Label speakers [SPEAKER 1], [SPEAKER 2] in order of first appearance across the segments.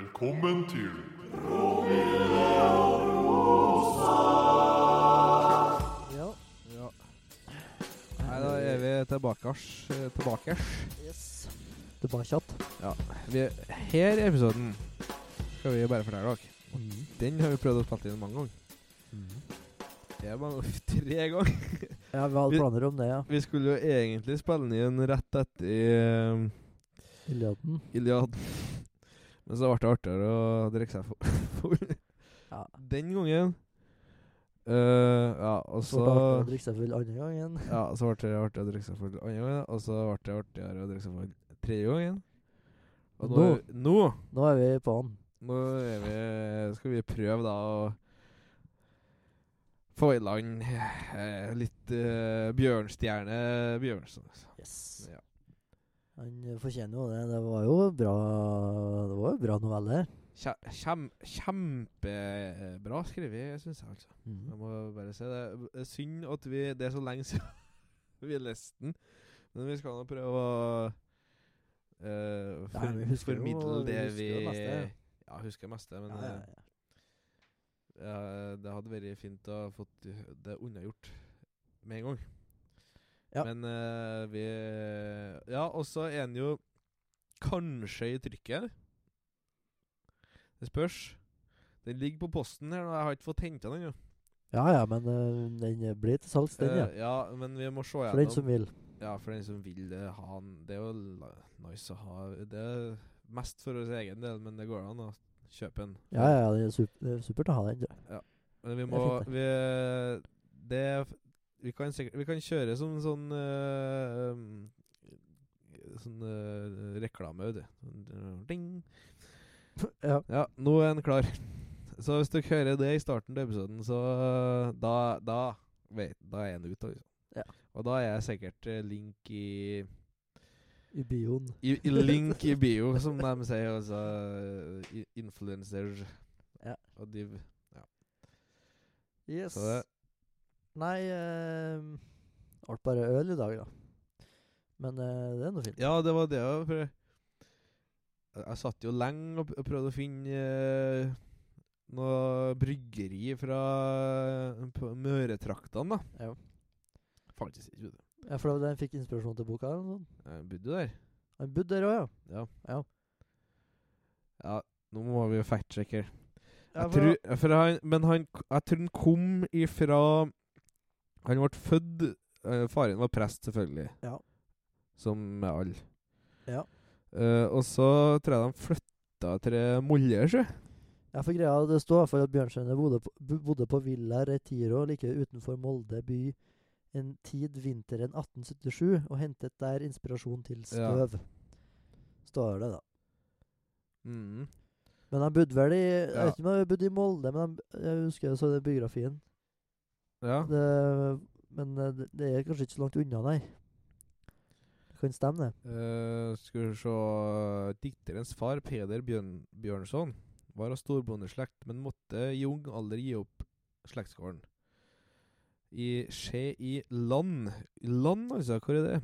[SPEAKER 1] Velkommen til
[SPEAKER 2] Ja.
[SPEAKER 3] Ja. Nei, da er vi tilbakers. eh, Tilbakers.
[SPEAKER 2] Yes. Det var kjapt.
[SPEAKER 3] Vi, her episoden skal vi bare fortelle dere. Den har vi prøvd å spille inn mange ganger. Det er mange ganger. Tre ganger.
[SPEAKER 2] Ja, vi hadde
[SPEAKER 3] Vi-
[SPEAKER 2] planer om det, ja.
[SPEAKER 3] Vi skulle jo egentlig spille den inn rett etter eh,
[SPEAKER 2] Iliaden.
[SPEAKER 3] Iliaden. Men så ble det artigere å drikke seg full- full.
[SPEAKER 2] Ja.
[SPEAKER 3] Den gangen eh, Ja, og
[SPEAKER 2] Så
[SPEAKER 3] så
[SPEAKER 2] da ble det å drikke seg full andre gangen.
[SPEAKER 3] Ja, så ble det artig å drikke seg full andre gangen, og så ble det artigere å drikke seg full tredje gangen. Og nå,
[SPEAKER 2] Nå-
[SPEAKER 3] er vi- nå,
[SPEAKER 2] Nå er vi på han.
[SPEAKER 3] nå er vi, skal vi prøve da å få i land eh, litt eh, bjørnstjerne Bjørnson. altså.
[SPEAKER 2] Yes.
[SPEAKER 3] Ja.
[SPEAKER 2] Han eh, fortjener jo det. Det var jo bra Det var jo bra novelle.
[SPEAKER 3] Kje, kjem, kjempebra skrevet, syns jeg, altså. Jeg
[SPEAKER 2] Mm.
[SPEAKER 3] må bare si det. Det er synd at vi Det er så lenge siden vi leste den, men vi skal nå prøve å eh,
[SPEAKER 2] Ja,
[SPEAKER 3] for,
[SPEAKER 2] vi husker jo-
[SPEAKER 3] formidle
[SPEAKER 2] vi
[SPEAKER 3] det
[SPEAKER 2] husker
[SPEAKER 3] vi
[SPEAKER 2] jo det meste.
[SPEAKER 3] Ja, husker det meste, men
[SPEAKER 2] Ja, ja, ja.
[SPEAKER 3] eh, ja, det hadde vært fint å ha fått det unnagjort med en gang.
[SPEAKER 2] Ja.
[SPEAKER 3] Men eh, vi Ja, og så er den jo kanskje i trykket. Det spørs. Den ligger på posten her, og jeg har ikke fått henta den ennå.
[SPEAKER 2] ja, ja, men eh, den blir til salgs, den, ja.
[SPEAKER 3] Eh, ja, men vi må se
[SPEAKER 2] For den som
[SPEAKER 3] gjennom
[SPEAKER 2] vil.
[SPEAKER 3] Ja, for den som vil eh, ha den. Det er jo la- nice å ha Det er mest for vår egen del, men det går an å kjøpe en.
[SPEAKER 2] Ja, ja, ja, det er sup- det er supert å ha den. tror jeg.
[SPEAKER 3] Men vi
[SPEAKER 2] det er
[SPEAKER 3] må
[SPEAKER 2] fint,
[SPEAKER 3] Vi Det er f- Vi kan sikkert Vi kan kjøre som sånn eh, um, Sånn eh, reklame, vet du. Sånn, eh, Ding.
[SPEAKER 2] Ja.
[SPEAKER 3] Ja, nå er den klar. Så hvis dere hører det i starten til episoden, så da, da, vet, da er den ute. Liksom.
[SPEAKER 2] Ja.
[SPEAKER 3] Og da er jeg sikkert eh, link i,
[SPEAKER 2] I bioen.
[SPEAKER 3] i, i Link i bio, som de sier. Altså eh, i- influencers
[SPEAKER 2] Ja.
[SPEAKER 3] og div.
[SPEAKER 2] Yes.
[SPEAKER 3] Så det,
[SPEAKER 2] Nei eh, Alt bare øl i dag, da. Men eh, det er nå fint.
[SPEAKER 3] ja, det var det. ja, For jeg, jeg satt jo lenge og, p- og prøvde å finne eh, noe bryggeri fra eh, på Møretraktene, da.
[SPEAKER 2] Ja.
[SPEAKER 3] Faktisk ikke. vet du.
[SPEAKER 2] Ja, for det var der han fikk inspirasjon til boka? eller noe sånt.
[SPEAKER 3] Jeg bodde der.
[SPEAKER 2] Han bodde der òg, ja.
[SPEAKER 3] Ja.
[SPEAKER 2] Ja.
[SPEAKER 3] Ja, nå må vi jo fact-sjekke.
[SPEAKER 2] Ja,
[SPEAKER 3] Jeg
[SPEAKER 2] for
[SPEAKER 3] tror, for han, men han, jeg tror han kom ifra Han ble født eh, Faren var prest, selvfølgelig.
[SPEAKER 2] Ja.
[SPEAKER 3] Som med alle.
[SPEAKER 2] Ja.
[SPEAKER 3] Eh, og så tror jeg de flytta til Molde, sjø.
[SPEAKER 2] Ja, for greia det står i hvert fall at Bjørnstjerne bodde på, bo- bodde på Villa Retiro like utenfor Molde by en tid vinteren 1877, og hentet der inspirasjon til
[SPEAKER 3] Ja.
[SPEAKER 2] støv. Står det, da.
[SPEAKER 3] Mm.
[SPEAKER 2] Men han bodde vel i
[SPEAKER 3] Ja.
[SPEAKER 2] Jeg vet ikke om han bodde i Molde, men han, jeg husker jeg så den biografien.
[SPEAKER 3] Ja.
[SPEAKER 2] Det, men eh, det, det er kanskje ikke så langt unna, nei. Det kan stemme, det.
[SPEAKER 3] Eh, skal vi se Dikterens far, Peder Bjørn, Bjørnson, var av storbondeslekt, men måtte i ung alder gi opp slektsgården. I Skje i land Land, altså? Hvor er det?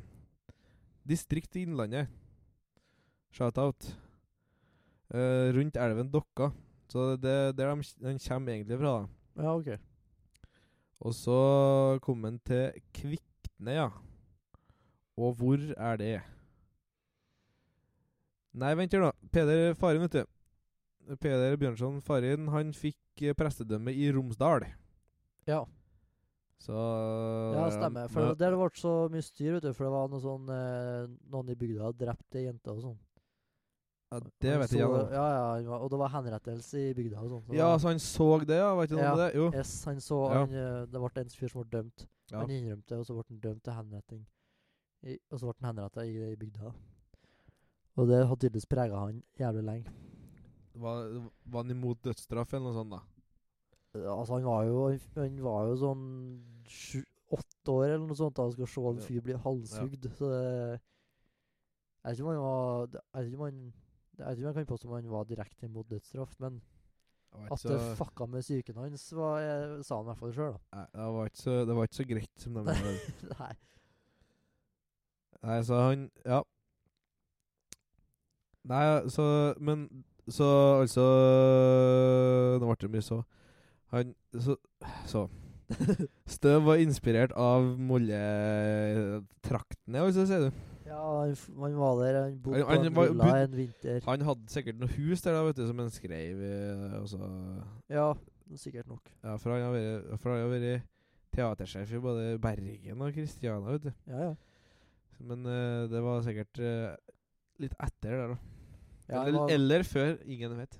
[SPEAKER 3] Distrikt i Innlandet. Shout-out. Eh, rundt elven Dokka. Så det er der de, den kommer egentlig fra. da.
[SPEAKER 2] Ja, OK.
[SPEAKER 3] Og så kom den til Kvikne, ja. Og hvor er det? Nei, vent her, da. Peder Farin, vet du. Peder Bjørnson Farin han fikk eh, prestedømme i Romsdal.
[SPEAKER 2] Ja.
[SPEAKER 3] Så Eh,
[SPEAKER 2] Ja, stemmer. For
[SPEAKER 3] Mø-
[SPEAKER 2] det hadde vært så mye styr, vet du. For det var noe sånn eh, Noen i bygda hadde drept ei jente og sånn.
[SPEAKER 3] ja,
[SPEAKER 2] Han
[SPEAKER 3] det vet
[SPEAKER 2] så-
[SPEAKER 3] jeg ikke.
[SPEAKER 2] Ja, ja, han var- og det var henrettelse i bygda og sånn. så
[SPEAKER 3] Ja,
[SPEAKER 2] da-
[SPEAKER 3] så han så det, ja? Vet du noe om
[SPEAKER 2] Ja.
[SPEAKER 3] det? Jo.
[SPEAKER 2] yes, han så
[SPEAKER 3] Ja.
[SPEAKER 2] han, eh, Det ble en fyr som ble dømt.
[SPEAKER 3] Ja.
[SPEAKER 2] Han innrømte, og så ble han dømt til henretting. I, og så ble han henretta i, i bygda. Og det har tydeligvis prega han jævlig lenge.
[SPEAKER 3] Var, var han imot dødsstraff eller noe sånt, da?
[SPEAKER 2] Eh, Altså, han var jo, han var jo sånn sju, åtte år eller noe sånt da, og skal se en
[SPEAKER 3] Ja.
[SPEAKER 2] fyr bli halshugd. Så det Jeg vet ikke om han var det- Jeg vet ikke om han jeg vet ikke om jeg kan påstå om han var direkte imot dødsstraff, men
[SPEAKER 3] Jeg var ikke
[SPEAKER 2] at
[SPEAKER 3] så-
[SPEAKER 2] det fucka med psyken hans, var, eh, sa han i hvert fall sjøl, da.
[SPEAKER 3] Nei, det var ikke så, det var ikke så greit som de hadde
[SPEAKER 2] Nei.
[SPEAKER 3] Nei, så han Ja. Nei, så Men Så altså Nå ble det mye så. Han Så. så. Støv var inspirert av Molletraktene, altså, sier du.
[SPEAKER 2] Ja, han, f- han var der. Han bodde
[SPEAKER 3] Han- han
[SPEAKER 2] på
[SPEAKER 3] var-
[SPEAKER 2] en villa
[SPEAKER 3] bod-
[SPEAKER 2] en vinter.
[SPEAKER 3] Han hadde sikkert noe hus der, da, vet du, som han skrev eh, og så
[SPEAKER 2] Ja, sikkert nok.
[SPEAKER 3] Ja, for han har vært, for han har vært teatersjef i både Bergen og Kristiania, vet du.
[SPEAKER 2] Ja, ja.
[SPEAKER 3] Men eh, det var sikkert eh, litt etter der, da.
[SPEAKER 2] Ja, han
[SPEAKER 3] eller,
[SPEAKER 2] var-
[SPEAKER 3] eller før. Ingen vet.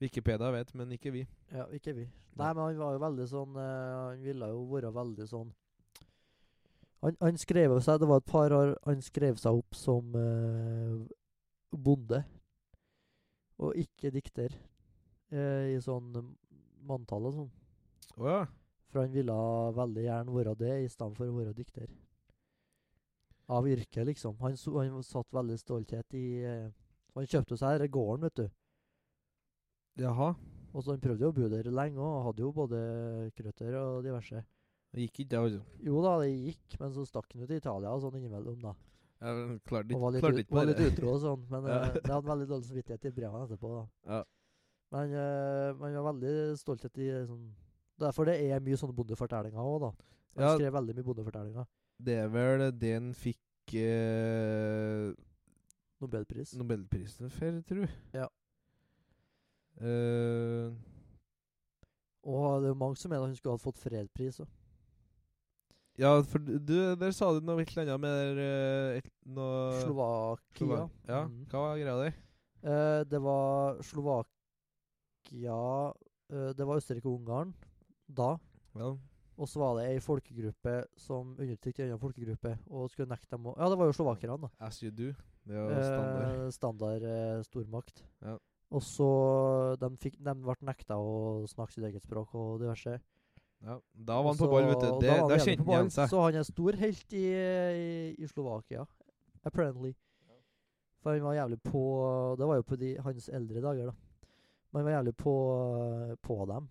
[SPEAKER 3] Wikipedia vet, men ikke vi.
[SPEAKER 2] Ja, ikke vi. Nei, men han var jo veldig sånn eh, Han ville jo være veldig sånn Han, han skrev jo seg Det var et par år han skrev seg opp som eh, bonde. Og ikke dikter. eh, I sånn manntall og sånn.
[SPEAKER 3] Å ja.
[SPEAKER 2] For han ville veldig gjerne være det i stedet for å være dikter. Av yrket, liksom. Han, så, han satt veldig stolthet i eh, Han kjøpte seg denne gården, vet du.
[SPEAKER 3] Jaha.
[SPEAKER 2] Og så han prøvde jo å bo der lenge òg, hadde jo både krøtter og diverse.
[SPEAKER 3] Det gikk ikke, det.
[SPEAKER 2] Jo da, det gikk, men så stakk han ut til Italia og sånn innimellom, da.
[SPEAKER 3] Jeg klarte
[SPEAKER 2] Og var
[SPEAKER 3] ikke
[SPEAKER 2] litt, ut,
[SPEAKER 3] klarte
[SPEAKER 2] var
[SPEAKER 3] ikke
[SPEAKER 2] litt
[SPEAKER 3] bare
[SPEAKER 2] utro og sånn, men
[SPEAKER 3] Ja.
[SPEAKER 2] eh, det hadde veldig dårlig samvittighet i brevene etterpå, da.
[SPEAKER 3] Ja.
[SPEAKER 2] Men eh, man var veldig stolthet i eh, sånn Derfor det er mye sånne bondefortellinger òg, da. Han
[SPEAKER 3] Ja.
[SPEAKER 2] skrev veldig mye bondefortellinger.
[SPEAKER 3] Det er vel det han fikk eh,
[SPEAKER 2] Nobelpris.
[SPEAKER 3] Nobelprisen for, tror jeg.
[SPEAKER 2] Ja.
[SPEAKER 3] Eh,
[SPEAKER 2] Og det er jo mange som mener at hun skulle ha fått fredspris òg.
[SPEAKER 3] ja, for du, der sa du noe helt annet med eh, et, noe
[SPEAKER 2] Slovakia.
[SPEAKER 3] Slovak- Ja,
[SPEAKER 2] Mhm.
[SPEAKER 3] hva var greia der?
[SPEAKER 2] Eh, det var Slovakia eh, Det var Østerrike og Ungarn da.
[SPEAKER 3] Vel,
[SPEAKER 2] Og så var det ei folkegruppe som undertrykte ei annen folkegruppe og skulle nekte dem å Ja, det var jo slovakerne, da.
[SPEAKER 3] as you do. Det er jo standard.
[SPEAKER 2] Eh, standard eh, stormakt.
[SPEAKER 3] Ja.
[SPEAKER 2] Og så De, fikk, de ble nekta å snakke sitt eget språk og diverse.
[SPEAKER 3] Ja, da var han på
[SPEAKER 2] Og så-
[SPEAKER 3] ball, vet du.
[SPEAKER 2] og
[SPEAKER 3] Det,
[SPEAKER 2] da var han
[SPEAKER 3] der
[SPEAKER 2] igjen
[SPEAKER 3] kjente
[SPEAKER 2] på
[SPEAKER 3] han igjen
[SPEAKER 2] ball,
[SPEAKER 3] seg.
[SPEAKER 2] Så han er stor helt i, i, i Slovakia. Apparently. For han var jævlig på Det var jo på de, hans eldre dager, da. Men han var jævlig på, på dem.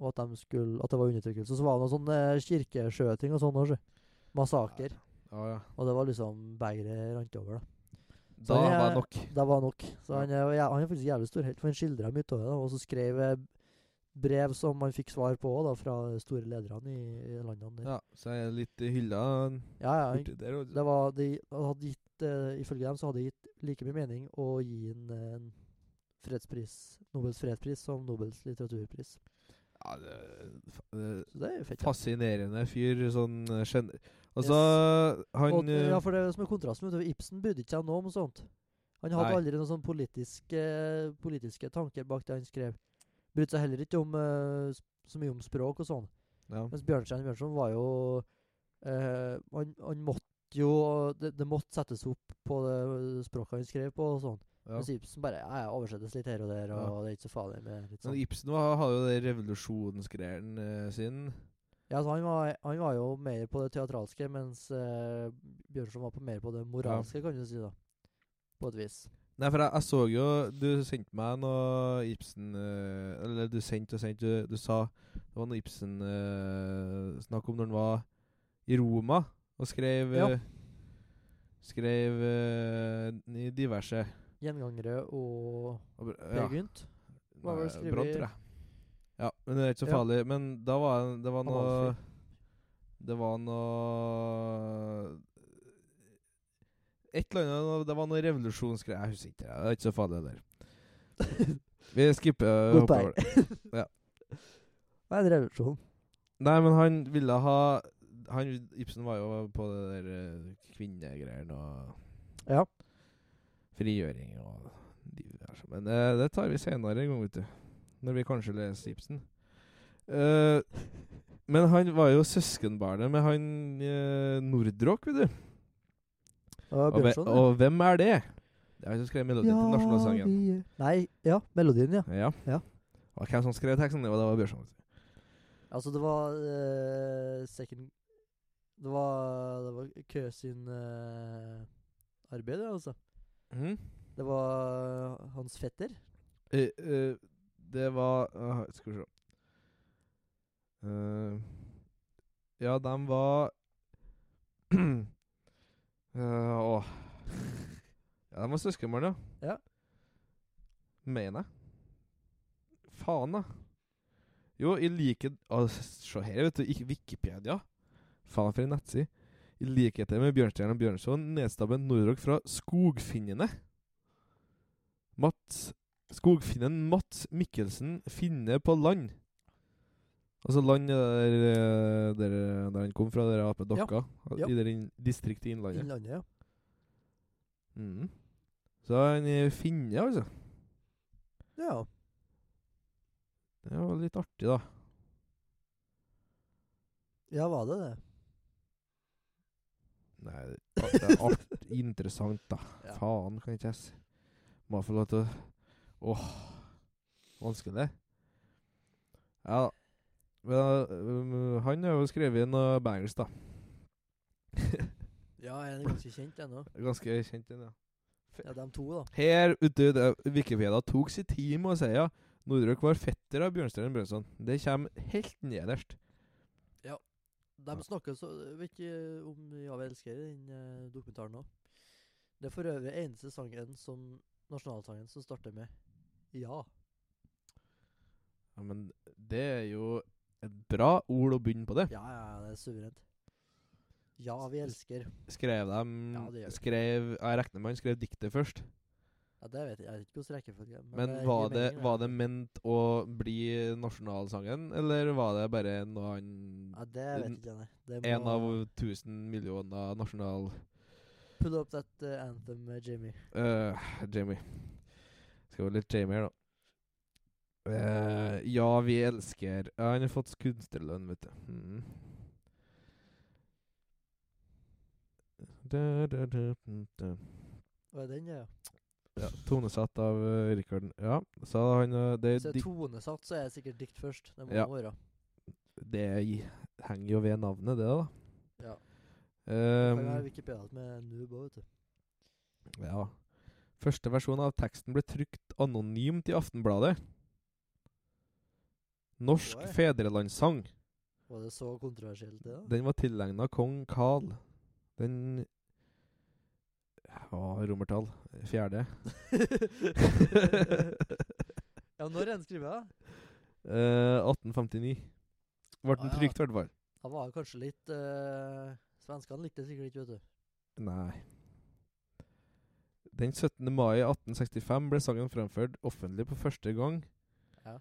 [SPEAKER 2] Og at, de skulle, at det var undertrykkelse. Så var det noen sånne kirkeskjøting og sånn òg, Massaker.
[SPEAKER 3] Ja, ja.
[SPEAKER 2] Og det var liksom begeret rant over, da.
[SPEAKER 3] Da
[SPEAKER 2] han
[SPEAKER 3] var
[SPEAKER 2] er-
[SPEAKER 3] det nok.
[SPEAKER 2] Det var nok. Så
[SPEAKER 3] Ja.
[SPEAKER 2] han, er, jæ- han er faktisk jævlig stor helt, for han skildra mye av det. da, Og så skrev eh, brev som han fikk svar på også, da, fra store lederne i, i landene der.
[SPEAKER 3] Ja, så er jeg litt i hylla
[SPEAKER 2] Ja, ja. han-
[SPEAKER 3] borti der. og-
[SPEAKER 2] Det var, de hadde gitt, eh, ifølge dem så hadde det gitt like mye mening å gi en, eh, en fredspris, Nobels fredspris som Nobels litteraturpris.
[SPEAKER 3] Ja, det, er fa- det
[SPEAKER 2] Så det er jo fett.
[SPEAKER 3] er
[SPEAKER 2] ja.
[SPEAKER 3] fascinerende fyr, sånn eh, gen... Altså, han
[SPEAKER 2] Og,
[SPEAKER 3] eh,
[SPEAKER 2] ja, for det er som er kontrasten, vet du, Ibsen brydde ikke seg noe om sånt. Han hadde
[SPEAKER 3] Nei.
[SPEAKER 2] aldri noen sånn politiske, politiske tanker bak det han skrev. Brydde seg heller ikke om eh, s- så mye om språk og sånn.
[SPEAKER 3] ja.
[SPEAKER 2] Mens Bjørnstein Bjørnson var jo eh, han, han måtte jo det, det måtte settes opp på det eh, språket han skrev på og sånn.
[SPEAKER 3] ja.
[SPEAKER 2] Mens Ibsen bare ja, ja, oversettes litt her og der, og det er ikke så farlig med litt
[SPEAKER 3] Men
[SPEAKER 2] sånn.
[SPEAKER 3] Ibsen var, hadde jo den revolusjonsgreien eh, sin.
[SPEAKER 2] Ja, så han, var, han var jo mer på det teatralske, mens eh, Bjørnson var på mer på det moralske, kan du si, da. På et vis.
[SPEAKER 3] Nei, for jeg, jeg så jo Du sendte meg noe Ibsen eh, Eller du sendte og sendte Du, du sa det var noe Ibsen eh, snakk om når han var i Roma og skrev
[SPEAKER 2] Ja.
[SPEAKER 3] eh, Skrev eh, i diverse
[SPEAKER 2] Gjengangere og
[SPEAKER 3] og br-
[SPEAKER 2] Per
[SPEAKER 3] ja,
[SPEAKER 2] Gynt. hva var det
[SPEAKER 3] nei,
[SPEAKER 2] skrevet
[SPEAKER 3] Brandt,
[SPEAKER 2] i-
[SPEAKER 3] Eh, tror jeg. Ja, men det er ikke så
[SPEAKER 2] Ja.
[SPEAKER 3] farlig. Men da var han- det var
[SPEAKER 2] Han
[SPEAKER 3] noe
[SPEAKER 2] var
[SPEAKER 3] Det var noe Et eller annet noe- Det var noe revolusjonsgreier. Jeg husker ikke. Det er ikke så farlig heller. Vi skipper eh,
[SPEAKER 2] Godt
[SPEAKER 3] hopper
[SPEAKER 2] poeng.
[SPEAKER 3] over det.
[SPEAKER 2] Nei, en revolusjon.
[SPEAKER 3] Nei, men han ville ha han, Ibsen var jo på det der eh, kvinnegreiene og
[SPEAKER 2] Ja.
[SPEAKER 3] frigjøring og de der. Men eh, det tar vi senere en gang, vet du. Når vi kanskje leser Ibsen. Eh, men han var jo søskenbarnet med han uh, Nordrock, vet du.
[SPEAKER 2] Og
[SPEAKER 3] Og, ve
[SPEAKER 2] Bjørnson. ja.
[SPEAKER 3] og hvem er det? Det er han som skrev melodien til nasjonalsangen.
[SPEAKER 2] vi er- Nei, ja. Melodien, ja.
[SPEAKER 3] Ja.
[SPEAKER 2] Ja.
[SPEAKER 3] Og hvem som skrev teksten? Jo, det var Bjørnson. vet du.
[SPEAKER 2] Altså, det var eh, second Det var, det var Kø sin eh, arbeid, ja, altså.
[SPEAKER 3] Mhm.
[SPEAKER 2] Det var hans fetter.
[SPEAKER 3] Eh, eh, det var ah, Skal vi se Eh, Ja, de var Eh, Åh Ja, de var søskenbarn, ja.
[SPEAKER 2] Ja.
[SPEAKER 3] mener jeg. Faen, da. Jo, i likhet Å, Se her, vet du. Ikke Wikipedia. Faen, for en nettside. I likhet med Bjørnstjerne og Bjørnson nedstabber Nordrock fra skogfinnene. Mats Skogfinnen Mats Mikkelsen Finne på land. Altså land er der, eh, der, der han kom fra, der Ape
[SPEAKER 2] Ja.
[SPEAKER 3] Dokka.
[SPEAKER 2] Ja.
[SPEAKER 3] I det inn- distriktet i Innlandet.
[SPEAKER 2] Innlandet, ja.
[SPEAKER 3] Mm. Så han eh, finne, altså.
[SPEAKER 2] Ja.
[SPEAKER 3] Det var litt artig, da.
[SPEAKER 2] Ja, var det det?
[SPEAKER 3] Nei, det er det er art interessant, da.
[SPEAKER 2] Ja.
[SPEAKER 3] Faen, kan ikke jeg si. Må jeg få lov til å Åh. Vanskelig. Ja da. Men, øhm, han har jo skrevet noe bangers, da.
[SPEAKER 2] Ja, en er ganske kjent ennå.
[SPEAKER 3] Ganske kjent, den, ja.
[SPEAKER 2] Ja, de to, da.
[SPEAKER 3] Her ute det, Wikipedia tok sin tid med å si ja. Nordrøk var fetter av Bjørnstjerne Brønson. Det kommer helt nederst.
[SPEAKER 2] De
[SPEAKER 3] Ja.
[SPEAKER 2] snakker så Vet ikke om Ja, vi elsker i den eh, dokumentaren òg. Det er for øvrig eneste sangen som nasjonalsangen som starter med ja.
[SPEAKER 3] Ja, men det er jo et bra ord å begynne på det.
[SPEAKER 2] Ja, ja, det er suverent. Ja, vi elsker.
[SPEAKER 3] Skrev dem
[SPEAKER 2] Ja, det gjør vi.
[SPEAKER 3] skrev, Jeg regner med han skrev diktet først.
[SPEAKER 2] Ja, det vet jeg, jeg vet ikke hvordan rekkefølge er,
[SPEAKER 3] Men
[SPEAKER 2] det
[SPEAKER 3] var
[SPEAKER 2] gir
[SPEAKER 3] det,
[SPEAKER 2] mening,
[SPEAKER 3] var det ment å bli nasjonalsangen, eller var det bare noe han
[SPEAKER 2] Ja, det vet ikke jeg, nei. Det
[SPEAKER 3] En
[SPEAKER 2] må
[SPEAKER 3] av tusen millioner nasjonal
[SPEAKER 2] Pull up that eh, anthem, eh, Jamie.
[SPEAKER 3] Øh, Jamie. Skal være litt Jamie her, da. Eh, ja, vi elsker Ja, Han har fått kunstnerlønn, vet du. Mm. Da, da, da, mm, da.
[SPEAKER 2] Var det den, ja?
[SPEAKER 3] Ja, tonesatt av uh, Rikard Ja, sa han eh, Det
[SPEAKER 2] Hvis det
[SPEAKER 3] dik-
[SPEAKER 2] er tonesatt, så er det sikkert dikt først. Det må
[SPEAKER 3] Ja.
[SPEAKER 2] det være.
[SPEAKER 3] det gi- henger jo ved navnet, det, da.
[SPEAKER 2] Ja.
[SPEAKER 3] Ehm,
[SPEAKER 2] kan være Wikipedia med noob òg, vet du.
[SPEAKER 3] ja. Første versjon av teksten ble trykt anonymt i Aftenbladet. Norsk
[SPEAKER 2] Oi.
[SPEAKER 3] fedrelandssang.
[SPEAKER 2] Var det så kontroversielt, det? da?
[SPEAKER 3] Den var tilegna kong Karl. Den Ja, romertall. Fjerde.
[SPEAKER 2] ja, når er den skrevet? da?
[SPEAKER 3] Eh, 1859. Ble
[SPEAKER 2] Ah,
[SPEAKER 3] den
[SPEAKER 2] ja.
[SPEAKER 3] trykt, i hvert fall.
[SPEAKER 2] Han var kanskje litt eh, Svenskene likte det sikkert ikke, vet du.
[SPEAKER 3] Nei. Den 17. mai 1865 ble sangen fremført offentlig på første gang.
[SPEAKER 2] Ja.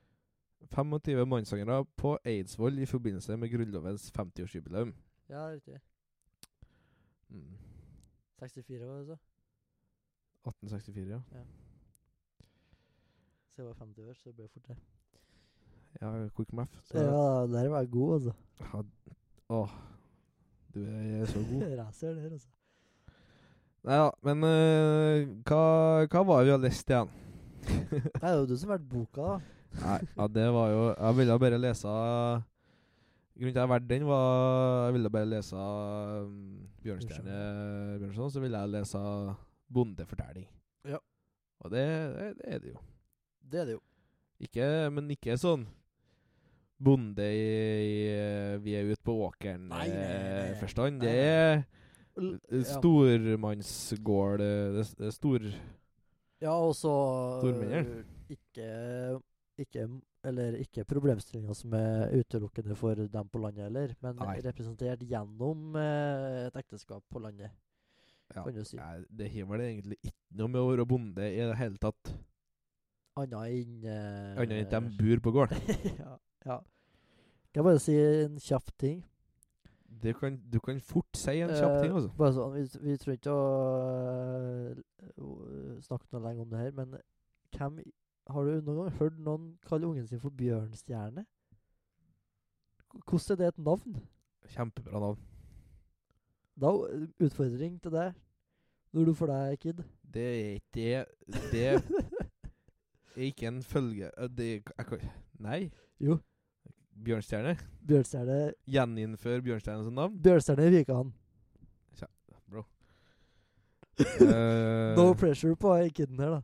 [SPEAKER 3] 25 mannssangere på Eidsvoll i forbindelse med Grunnlovens 50-årsjubileum.
[SPEAKER 2] Ja, riktig.
[SPEAKER 3] Mm.
[SPEAKER 2] 64 var det, så.
[SPEAKER 3] 1864, ja.
[SPEAKER 2] Så jeg var 50 år, så det ble fort det.
[SPEAKER 3] Ja, quick math. Så
[SPEAKER 2] Ja, der var jeg god, altså.
[SPEAKER 3] Ja, Åh, du er så god.
[SPEAKER 2] Racer der, altså.
[SPEAKER 3] Nei da, men eh, hva, hva var det vi har lest igjen?
[SPEAKER 2] Nei, det er jo du som har vært boka, da.
[SPEAKER 3] Nei, ja, det var jo Jeg ville bare lese Grunnen til at jeg valgte den, var Jeg ville bare lese um, Bjørnstjerne Bjørnson, så ville jeg lese Bondefortelling.
[SPEAKER 2] Ja.
[SPEAKER 3] Og det, det, det er det jo.
[SPEAKER 2] Det er det jo.
[SPEAKER 3] Ikke, men ikke sånn bonde i, i eh, Vi er ute på
[SPEAKER 2] Nei, nei, nei, nei.
[SPEAKER 3] åkeren-forstand.
[SPEAKER 2] Nei,
[SPEAKER 3] Det
[SPEAKER 2] nei.
[SPEAKER 3] er eh, stormannsgård eh, Det det er stor...
[SPEAKER 2] Ja, og så eh,
[SPEAKER 3] Stormennene.
[SPEAKER 2] ikke, ikke Eller ikke problemstillinger som er utelukkende for dem på landet heller, men
[SPEAKER 3] Nei.
[SPEAKER 2] representert gjennom eh, et ekteskap på landet,
[SPEAKER 3] Ja.
[SPEAKER 2] kan du si.
[SPEAKER 3] Nei, det har vel egentlig ikke noe med å være bonde i det hele tatt.
[SPEAKER 2] Annet enn eh,
[SPEAKER 3] Annet enn at de bor på gården.
[SPEAKER 2] ja, ja. Kan jeg bare si en kjapp ting?
[SPEAKER 3] Du kan, du kan fort si en kjapp
[SPEAKER 2] Eh,
[SPEAKER 3] ting, altså.
[SPEAKER 2] Bare sånn, vi, vi tror ikke å øh, snakke noe lenge om det her, men hvem i- Har du noen gang hørt noen kalle ungen sin for bjørnstjerne? K- Hvordan er det et navn?
[SPEAKER 3] Kjempebra navn.
[SPEAKER 2] Da øh, utfordring til deg når du får deg kid.
[SPEAKER 3] Det er ikke det Det er ikke en følge eh, det, jeg kan, Nei.
[SPEAKER 2] Jo,
[SPEAKER 3] Bjørnstjerne.
[SPEAKER 2] bjørnstjerne
[SPEAKER 3] Gjeninnfør Bjørnstjerne som navn.
[SPEAKER 2] Bjørnstjerne i Vikan.
[SPEAKER 3] Eh,
[SPEAKER 2] No pressure på eh, kiden her, da.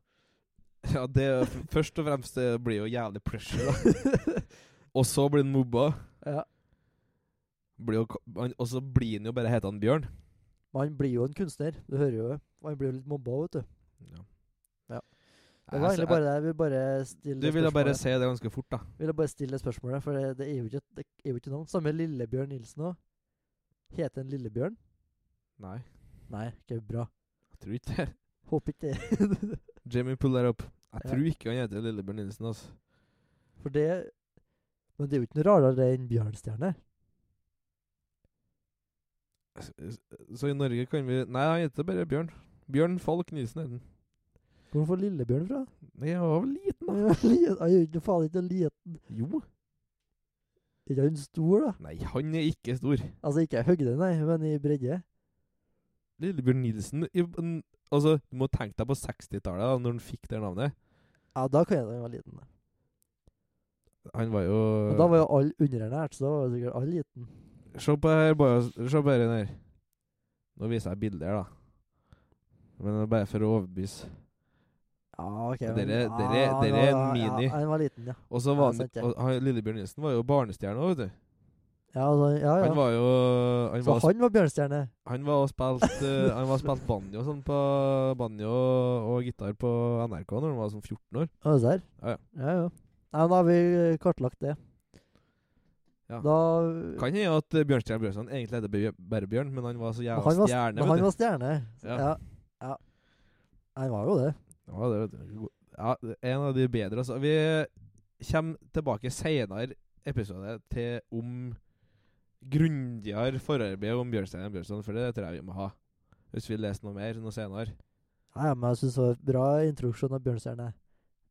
[SPEAKER 3] ja, det er f- Først og fremst det blir jo jævlig pressure, da. og så blir han mobba.
[SPEAKER 2] Ja.
[SPEAKER 3] Blir jo, k- han- og så blir han jo bare heta Bjørn.
[SPEAKER 2] Men han blir jo en kunstner, du hører jo det. Og han blir jo litt mobba, vet du. Det
[SPEAKER 3] Ja.
[SPEAKER 2] var
[SPEAKER 3] Altså, Jeg-
[SPEAKER 2] egentlig bare det. Jeg vil bare stille
[SPEAKER 3] Du ville bare
[SPEAKER 2] spørsmålet.
[SPEAKER 3] si det ganske fort, da.
[SPEAKER 2] ville bare stille det spørsmålet, for det, det, er jo ikke, et- det er jo ikke navn. Samme Lillebjørn Nilsen òg. Heter han Lillebjørn?
[SPEAKER 3] Nei,
[SPEAKER 2] Nei, ikke bra.
[SPEAKER 3] jeg tror ikke det.
[SPEAKER 2] Håper ikke det.
[SPEAKER 3] Jimmy pull that up. Jeg
[SPEAKER 2] Ja.
[SPEAKER 3] tror ikke han heter Lillebjørn Nilsen, altså.
[SPEAKER 2] for det Men det er jo ikke noe rarere enn Bjørnstjerne.
[SPEAKER 3] S- s- Så i Norge kan vi Nei, han heter bare Bjørn. Bjørn Falk Nilsen heter han.
[SPEAKER 2] Hvor får Lillebjørn fra?
[SPEAKER 3] Nei, Han var vel liten, da?
[SPEAKER 2] Han er jo ikke faen ikke liten.
[SPEAKER 3] Jo.
[SPEAKER 2] Er ikke han stor, da?
[SPEAKER 3] Nei, han er ikke stor.
[SPEAKER 2] Altså ikke i høgde, nei, men i bredde.
[SPEAKER 3] Lillebjørn Nilsen i, n- Altså, du må tenke deg på 60-tallet, da når han fikk det navnet.
[SPEAKER 2] Ja, da kan jeg da han var liten. da.
[SPEAKER 3] Han var jo
[SPEAKER 2] Men da var jo alle underernært, så da var jo sikkert alle liten.
[SPEAKER 3] Se på her, bare, se på her, her. Nå viser jeg bilder, da. Men det er bare for å overbevise.
[SPEAKER 2] Ja, ok.
[SPEAKER 3] Men
[SPEAKER 2] men-
[SPEAKER 3] dere-
[SPEAKER 2] ja,
[SPEAKER 3] dere-
[SPEAKER 2] han
[SPEAKER 3] dere er en
[SPEAKER 2] var-
[SPEAKER 3] mini.
[SPEAKER 2] Ja, han var liten, ja.
[SPEAKER 3] Og så
[SPEAKER 2] Ja,
[SPEAKER 3] var han,
[SPEAKER 2] sant det.
[SPEAKER 3] og han Lillebjørn Nilsen var jo barnestjerne òg, vet du.
[SPEAKER 2] Ja, altså, ja, ja.
[SPEAKER 3] Han var jo Han
[SPEAKER 2] så
[SPEAKER 3] var,
[SPEAKER 2] han var bjørnstjerne?
[SPEAKER 3] han var og spilt eh, Han var spilt banjo og sånn på Banjo og, og gitar på NRK når han var sånn 14 år.
[SPEAKER 2] Ja, der.
[SPEAKER 3] Ja, ja.
[SPEAKER 2] Ja, ja. Nei, men da har vi eh, kartlagt det.
[SPEAKER 3] Ja.
[SPEAKER 2] Da,
[SPEAKER 3] Kan hende at eh, Bjørnstjerne Bjørnson egentlig heter Bjør- bare Bjørn, men han var så
[SPEAKER 2] men
[SPEAKER 3] jævla
[SPEAKER 2] han var,
[SPEAKER 3] stjerne,
[SPEAKER 2] men han
[SPEAKER 3] vet du.
[SPEAKER 2] var stjerne. Så-
[SPEAKER 3] Ja.
[SPEAKER 2] Ja. ja. Han var jo det.
[SPEAKER 3] Ja, det, vet du. ja, en av de bedre, altså. Vi kommer tilbake seinere episode til om grundigere forarbeid om Bjørnstjerne Bjørnson, for det tror jeg vi må ha. Hvis vi leser noe mer noe senere.
[SPEAKER 2] Ja, ja, men jeg syns det var bra introduksjon av bjørnstjerne.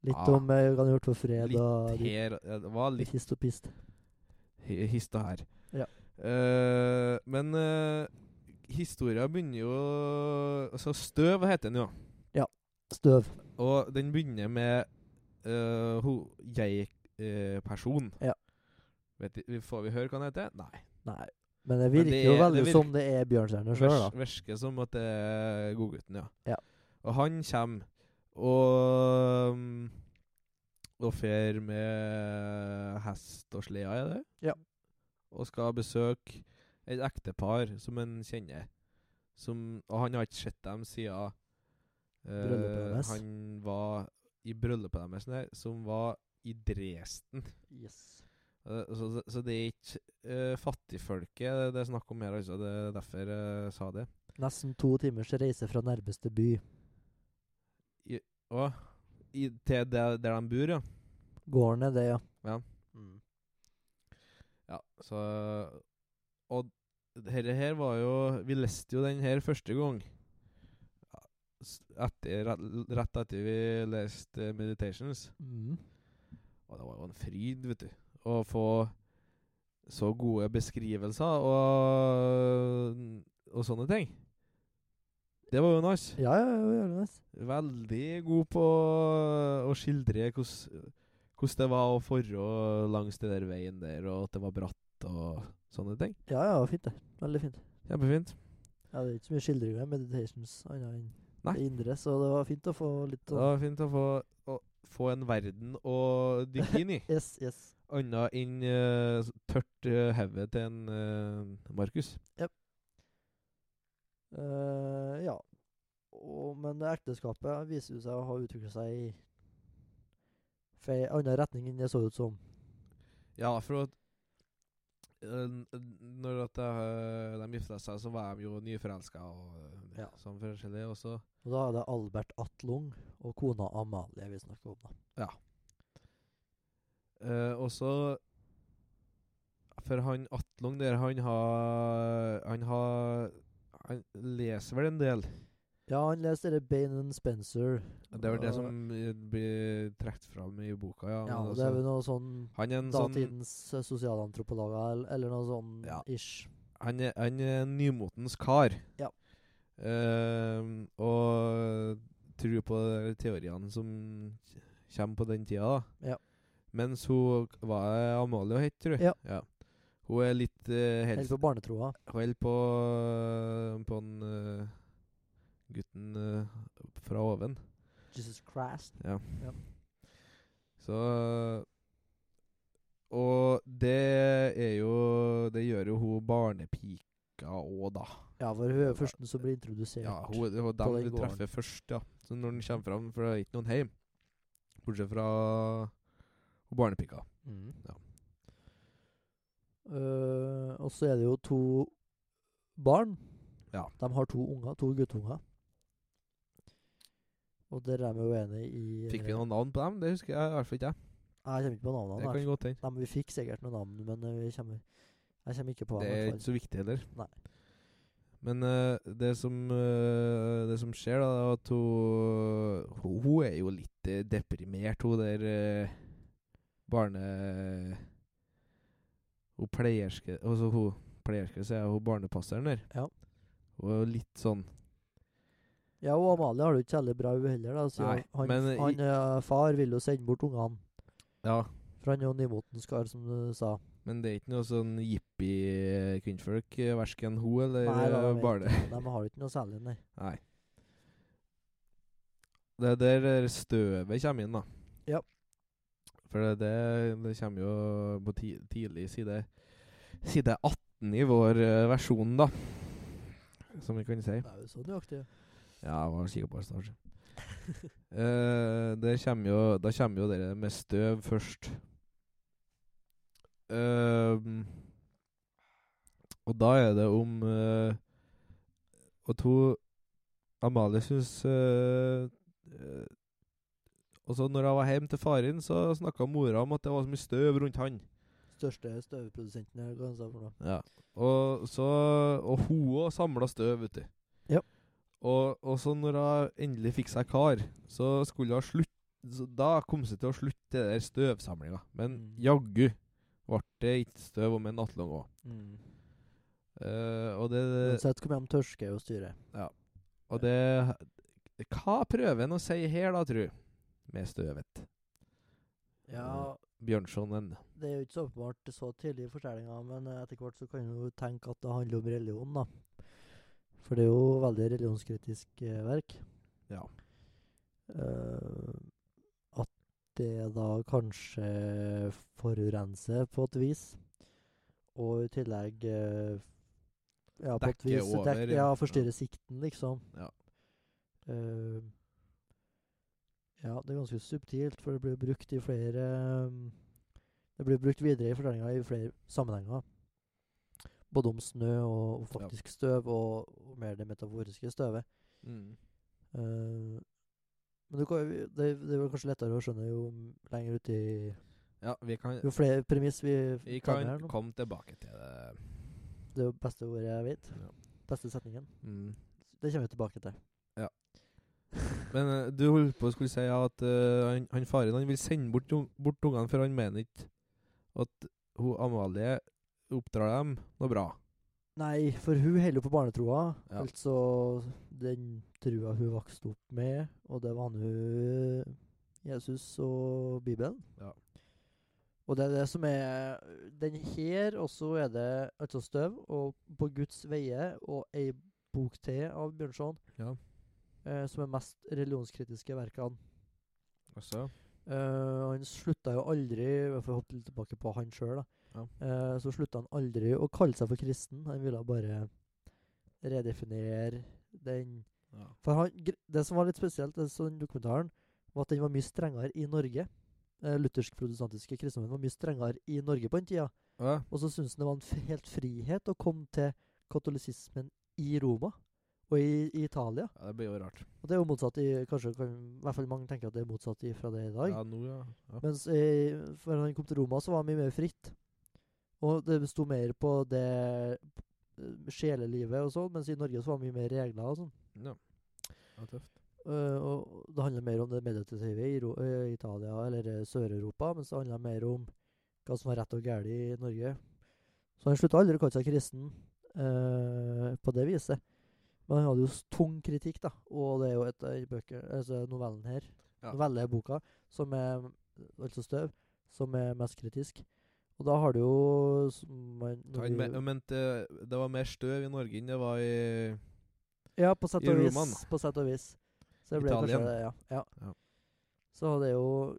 [SPEAKER 2] Litt
[SPEAKER 3] Ja.
[SPEAKER 2] om eh, hva han har gjort for fred
[SPEAKER 3] Litt
[SPEAKER 2] og litt,
[SPEAKER 3] Her, ja, det var litt
[SPEAKER 2] litt hist og pist.
[SPEAKER 3] hi- hist og her.
[SPEAKER 2] Ja.
[SPEAKER 3] Eh, men uh, historia begynner jo Altså, Støv heter den jo.
[SPEAKER 2] Støv.
[SPEAKER 3] Og den begynner med uh, ho, jeg-person.
[SPEAKER 2] Ja.
[SPEAKER 3] Vet i- får vi høre hva han heter? Nei.
[SPEAKER 2] Nei. Men det
[SPEAKER 3] Men
[SPEAKER 2] virker
[SPEAKER 3] det
[SPEAKER 2] jo
[SPEAKER 3] er-
[SPEAKER 2] veldig
[SPEAKER 3] det virker-
[SPEAKER 2] som det er bjørnstjerne sjøl, da.
[SPEAKER 3] Vers- Virker som at det er godgutten, ja.
[SPEAKER 2] Ja.
[SPEAKER 3] Og han kommer og um, Og fer med hest og sleda, er det?
[SPEAKER 2] Ja.
[SPEAKER 3] Og skal besøke et ektepar som han kjenner. Som, og han har ikke sett dem siden eh,
[SPEAKER 2] Bryllupet deres.
[SPEAKER 3] han var i bryllupet deres, nei, som var i Dresden.
[SPEAKER 2] Yes.
[SPEAKER 3] Eh, Så, så- så det er ikke eh, fattigfolket det- det er snakk om her, altså. Det er derfor jeg sa det.
[SPEAKER 2] Nesten to timers reise fra nærmeste by.
[SPEAKER 3] Å, i, til der, der de bor, ja.
[SPEAKER 2] Gården er det, ja.
[SPEAKER 3] Ja.
[SPEAKER 2] Mm.
[SPEAKER 3] ja så, og dette her var jo Vi leste jo den her første gang. Ja, s- Etter, rett- rett etter vi leste eh, 'Meditations'.
[SPEAKER 2] Mm.
[SPEAKER 3] Og det var jo en fryd, vet du, å få så gode beskrivelser og, og sånne ting. Det var jo nice.
[SPEAKER 2] Ja, ja, ja, ja, nice.
[SPEAKER 3] veldig god på å skildre hvordan hvordan det var å forre langs den der veien der, og at det var bratt og sånne ting.
[SPEAKER 2] ja, ja, fint det. Veldig fint.
[SPEAKER 3] Kjempefint.
[SPEAKER 2] Ja, det er ikke så mye skildringer i Meditations annet enn
[SPEAKER 3] Nei.
[SPEAKER 2] det indre, så det var fint å få litt
[SPEAKER 3] Det
[SPEAKER 2] sånn
[SPEAKER 3] var fint å få, å få en verden å dykke inn i,
[SPEAKER 2] Yes, yes.
[SPEAKER 3] annet enn eh, s- tørt eh, hode til en eh, Markus.
[SPEAKER 2] Eh, ja. Og, men det ekteskapet viser jo seg å ha utviklet seg i for en annen retning enn det så ut som.
[SPEAKER 3] Ja, for at eh, n- når at eh, de gifta seg, så var de jo nyforelska og eh,
[SPEAKER 2] Ja.
[SPEAKER 3] sånn forskjellig. Og så
[SPEAKER 2] Og da er det Albert Atlung og kona Amalie vi snakker om, da.
[SPEAKER 3] Eh, og så For han Atlung der, han har Han har Han leser vel en del.
[SPEAKER 2] Ja, han leste det Bain and Spencer.
[SPEAKER 3] Det er vel det
[SPEAKER 2] og-
[SPEAKER 3] som eh, blir trukket fram i boka, ja.
[SPEAKER 2] Ja,
[SPEAKER 3] men
[SPEAKER 2] og det er
[SPEAKER 3] altså,
[SPEAKER 2] vel noe sånn
[SPEAKER 3] han er en sånn
[SPEAKER 2] datidens eh, sosialantropologer, eller, eller noe sånn
[SPEAKER 3] Ja.
[SPEAKER 2] ish.
[SPEAKER 3] han er, han er en nymotens kar.
[SPEAKER 2] Ja.
[SPEAKER 3] Ehm, og tror på de teoriene som kommer på den tida, da.
[SPEAKER 2] Ja.
[SPEAKER 3] Mens hun Hva er Amalie hun het, tror du?
[SPEAKER 2] Ja.
[SPEAKER 3] Hun er litt eh, helse,
[SPEAKER 2] Helt på barnetroa.
[SPEAKER 3] Vel på På den eh, gutten eh, fra oven.
[SPEAKER 2] Jesus Christ.
[SPEAKER 3] Ja.
[SPEAKER 2] Ja.
[SPEAKER 3] Så Og det er jo Det gjør jo hun barnepika òg, da.
[SPEAKER 2] Ja, for hun er jo førsten som blir introdusert.
[SPEAKER 3] Ja, hun, hun,
[SPEAKER 2] På
[SPEAKER 3] dem
[SPEAKER 2] den
[SPEAKER 3] du treffer først, ja. Så når den kommer fram, for det er ikke noen hjem. bortsett fra barnepika.
[SPEAKER 2] Mm.
[SPEAKER 3] Ja.
[SPEAKER 2] Eh, og så er det jo to barn.
[SPEAKER 3] Ja.
[SPEAKER 2] De har to unger, to guttunger. Og der er vi jo enige i
[SPEAKER 3] Fikk vi noen navn på dem? Det husker jeg i hvert fall ikke. jeg.
[SPEAKER 2] Nei, Jeg kommer ikke på navnene.
[SPEAKER 3] Det
[SPEAKER 2] her.
[SPEAKER 3] kan godt hende.
[SPEAKER 2] Nei, men vi fikk sikkert noen navn, men eh, vi kommer, jeg kommer ikke på
[SPEAKER 3] Det
[SPEAKER 2] dem.
[SPEAKER 3] er
[SPEAKER 2] i hvert
[SPEAKER 3] ikke så viktig heller.
[SPEAKER 2] Nei.
[SPEAKER 3] Men eh, det, som, eh, det som skjer, da, er at hun, hun, hun er jo litt eh, deprimert, hun der eh, barne... Hun pleierske... Altså, hun pleierske, så er hun barnepasseren der.
[SPEAKER 2] Ja.
[SPEAKER 3] Hun er jo litt sånn...
[SPEAKER 2] fall. Ja, og Amalie har det jo ikke særlig bra hun heller. Da, så
[SPEAKER 3] Nei,
[SPEAKER 2] han,
[SPEAKER 3] men i-
[SPEAKER 2] han eh, far vil jo sende bort ungene,
[SPEAKER 3] Ja,
[SPEAKER 2] for han er jo nymotens kar, som du sa.
[SPEAKER 3] men det er ikke noe sånn jippie kvinnfolk, hverken hun eller
[SPEAKER 2] Nei, da,
[SPEAKER 3] eh,
[SPEAKER 2] de er
[SPEAKER 3] barne...
[SPEAKER 2] ikke- De har jo ikke noe særlig, nei.
[SPEAKER 3] Nei. Det er der der støvet kommer inn, da.
[SPEAKER 2] Ja.
[SPEAKER 3] For det, det, det kommer jo på ti, tidlig side Side 18 i vår eh, versjon, da. Som vi kan si.
[SPEAKER 2] Det er jo så nøyaktig. ja.
[SPEAKER 3] Ja, jeg var sikker på det snart. Eh, det kommer jo, da kommer jo dere med støv først. Ehm, og da er det om eh, Og to Amalie syns eh, eh, Og så når hun var hjemme til faren, så snakka mora om at det var så mye støv rundt han.
[SPEAKER 2] Største støvprodusenten her, hva han sa for noe.
[SPEAKER 3] Ja. Og, så, og hun òg samla støv, vet du.
[SPEAKER 2] Ja.
[SPEAKER 3] Og, og så når hun endelig fikk seg kar, så skulle hun slutte så Da kom det til å slutte det der støvsamlinga. Men
[SPEAKER 2] Mm.
[SPEAKER 3] jaggu ble det ikke støv om en nattlong òg. Eh, og det,
[SPEAKER 2] Uansett hvor mye de tørsker å styre.
[SPEAKER 3] og det Hva prøver han å si her, da, tru? Med støvet. Ja, Bjørnsonen.
[SPEAKER 2] det er jo ikke så åpenbart så tidlig i fortellinga, men eh, etter hvert så kan du jo tenke at det handler om religion, da. For det er jo veldig religionskritisk eh, verk.
[SPEAKER 3] Ja.
[SPEAKER 2] Eh, at det da kanskje forurenser på et vis, og i tillegg eh, ja, på et
[SPEAKER 3] Dekker
[SPEAKER 2] vis
[SPEAKER 3] over,
[SPEAKER 2] dek,
[SPEAKER 3] ja.
[SPEAKER 2] ja,
[SPEAKER 3] Ja.
[SPEAKER 2] forstyrrer sikten, liksom.
[SPEAKER 3] Ja.
[SPEAKER 2] Eh, ja, det er ganske subtilt, for det blir brukt i flere eh, det blir brukt videre i fortellinga i flere sammenhenger. Både om snø og, og faktisk støv, og, og mer det metaforiske støvet. Mm. Eh, men du kan, jo- det, det er vel kanskje lettere å skjønne jo m- lenger ut i
[SPEAKER 3] Ja, vi kan,
[SPEAKER 2] Jo flere premiss vi
[SPEAKER 3] vi
[SPEAKER 2] fremmer
[SPEAKER 3] kan
[SPEAKER 2] her nå.
[SPEAKER 3] komme tilbake til det.
[SPEAKER 2] Det er jo beste ordet jeg vet.
[SPEAKER 3] Ja.
[SPEAKER 2] Beste setningen.
[SPEAKER 3] Mm.
[SPEAKER 2] Det kommer vi tilbake til.
[SPEAKER 3] Men eh, du holdt på å skulle si at eh, han, han faren han vil sende bort, ung- bort ungene, for han mener ikke at hun Amalie oppdrar dem noe bra.
[SPEAKER 2] Nei, for hun holder jo på barnetroa.
[SPEAKER 3] Ja.
[SPEAKER 2] Altså den trua hun vokste opp med, og det var nå Jesus og Bibelen.
[SPEAKER 3] Ja.
[SPEAKER 2] Og det er det som er Den her, og så er det altså støv, og På Guds veie, og ei bok til av Bjørnson,
[SPEAKER 3] Ja.
[SPEAKER 2] eh, som er mest religionskritiske verkene.
[SPEAKER 3] Også.
[SPEAKER 2] Eh, han slutta jo aldri Jeg får hoppe litt tilbake på han sjøl, da.
[SPEAKER 3] Ja.
[SPEAKER 2] Eh, så slutta han aldri å kalle seg for kristen. Han ville bare redefinere den
[SPEAKER 3] Ja.
[SPEAKER 2] For han, gr- det som var litt spesielt i den dokumentaren, var at den var mye strengere i Norge. Eh, Luthersk-protestantiske kristendommen var mye strengere i Norge på den tida.
[SPEAKER 3] Ja.
[SPEAKER 2] Og så syntes han det var en f helt frihet å komme til katolisismen i Roma og i, i Italia.
[SPEAKER 3] ja, det blir jo rart.
[SPEAKER 2] Og det er jo motsatt i Kanskje kan, i hvert fall mange tenker at det er motsatt i, fra det i dag.
[SPEAKER 3] Ja, nå, ja. ja.
[SPEAKER 2] Mens eh, før han kom til Roma, så var han mye mer fritt. Og det sto mer på det eh, sjelelivet og sånn, mens i Norge så var det mye mer regler og sånn.
[SPEAKER 3] ja. ja tøft.
[SPEAKER 2] Eh, og det handler mer om det meditative i Ro eh, Italia eller eh, Sør-Europa, mens det handler mer om hva som var rett og galt i Norge. Så han slutta aldri å kalle seg kristen eh, på det viset. Men han hadde jo s- tung kritikk, da. Og det er jo et av de bøker, altså novellen her,
[SPEAKER 3] Ja.
[SPEAKER 2] novelleboka, som er altså støv, som er mest kritisk. Og da har du jo som man, når
[SPEAKER 3] Han
[SPEAKER 2] du-
[SPEAKER 3] me- han mente det var mer støv i Norge enn det var i
[SPEAKER 2] Ja, på sett
[SPEAKER 3] i
[SPEAKER 2] og
[SPEAKER 3] Roman,
[SPEAKER 2] vis.
[SPEAKER 3] da.
[SPEAKER 2] På sett og vis. Så det ble kanskje
[SPEAKER 3] Italien.
[SPEAKER 2] det, ja. ja.
[SPEAKER 3] Ja.
[SPEAKER 2] Så det er jo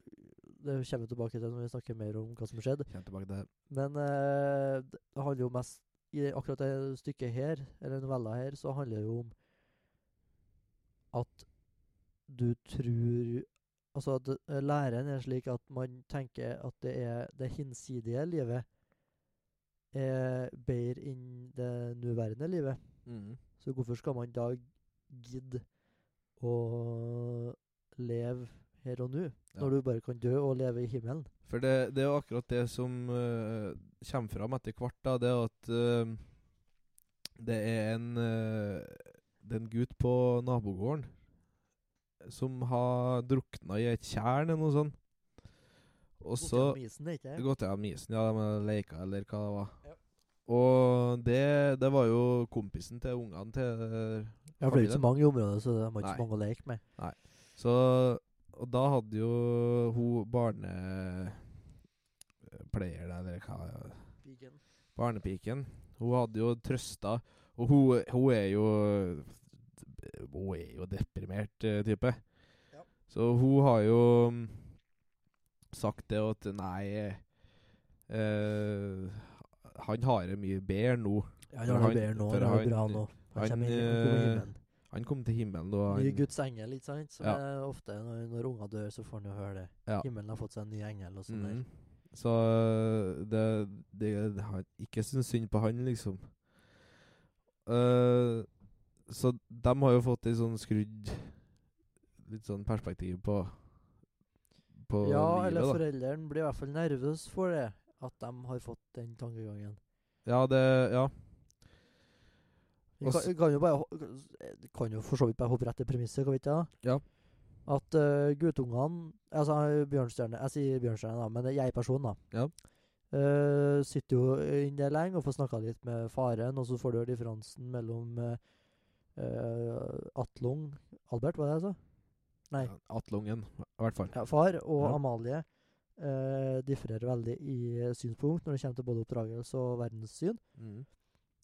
[SPEAKER 2] Det kommer vi tilbake til når vi snakker mer om hva som skjedde.
[SPEAKER 3] Kjem tilbake til det.
[SPEAKER 2] Men eh, d- det handler jo mest I det- akkurat det stykket her, eller novella her, så handler det jo om at du tror Altså at eh, læren er slik at man tenker at det er det hinsidige livet er bedre enn det nåværende livet.
[SPEAKER 3] Mm.
[SPEAKER 2] Så hvorfor skal man da gidde å leve her og nå,
[SPEAKER 3] Ja.
[SPEAKER 2] når du bare kan dø og leve i himmelen?
[SPEAKER 3] For det, det er jo akkurat det som eh, kommer fram etter hvert, da. Det er at eh, det er en eh, Det er en gutt på nabogården som har drukna i et tjern eller noe sånt. Og
[SPEAKER 2] Borti
[SPEAKER 3] så
[SPEAKER 2] om isen, sånn ikke
[SPEAKER 3] Det
[SPEAKER 2] det?
[SPEAKER 3] Gått gjennom isen, ja, med leika eller hva det var.
[SPEAKER 2] Ja.
[SPEAKER 3] Og det, det var jo kompisen til ungene til
[SPEAKER 2] Ja, for det er jo ikke så mange i området, så de har ikke
[SPEAKER 3] Nei.
[SPEAKER 2] så mange å leke med.
[SPEAKER 3] Så Og da hadde jo hun barnepleier der, eller hva Barnepiken. Hun hadde jo trøsta Og hun, hun er jo Hun er jo deprimert eh, type.
[SPEAKER 2] Ja.
[SPEAKER 3] Så hun har jo mm, sagt det at Nei eh, Han har det mye bedre nå.
[SPEAKER 2] Ja, det har
[SPEAKER 3] han-
[SPEAKER 2] du bedre nå.
[SPEAKER 3] for
[SPEAKER 2] Det har
[SPEAKER 3] han-
[SPEAKER 2] du bra nå. Han
[SPEAKER 3] han,
[SPEAKER 2] kommer inn, han kommer i
[SPEAKER 3] eh,
[SPEAKER 2] himmelen.
[SPEAKER 3] Han kom til himmelen da
[SPEAKER 2] Ny
[SPEAKER 3] han
[SPEAKER 2] Guds engel, ikke sant? Som
[SPEAKER 3] Ja.
[SPEAKER 2] er ofte når, når unger dør, så får han jo høre det.
[SPEAKER 3] Ja.
[SPEAKER 2] Himmelen har fått seg en ny engel og sånn
[SPEAKER 3] Mhm. Så øh, det, det, det har Ikke syns synd på han, liksom. Eh, så de har jo fått litt sånn skrudd Litt sånn perspektiv på På
[SPEAKER 2] der. Ja,
[SPEAKER 3] livet,
[SPEAKER 2] eller
[SPEAKER 3] da.
[SPEAKER 2] foreldrene blir i hvert fall nervøse for det. At de har fått den tankegangen.
[SPEAKER 3] Ja, det Ja.
[SPEAKER 2] Vi
[SPEAKER 3] Og
[SPEAKER 2] kan,
[SPEAKER 3] s-
[SPEAKER 2] e- vi kan jo bare ho- eh, kan jo for så vidt bare hoppe rett til premisset, kan vi ikke det?
[SPEAKER 3] Ja.
[SPEAKER 2] At eh, guttungene Altså eh, Bjørnstjerne Jeg sier Bjørnstjerne, da, men det er jeg-personen, da.
[SPEAKER 3] Ja.
[SPEAKER 2] eh, sitter jo inne der lenge og får snakka litt med faren, og så får du høre differansen mellom uh, Atlung Albert, var det jeg sa? Nei.
[SPEAKER 3] Atlungen, i hvert fall.
[SPEAKER 2] Ja, far og
[SPEAKER 3] Ja.
[SPEAKER 2] Amalie eh, differer veldig i eh, synspunkt når det kommer til både oppdragelse og verdenssyn.
[SPEAKER 3] Mhm.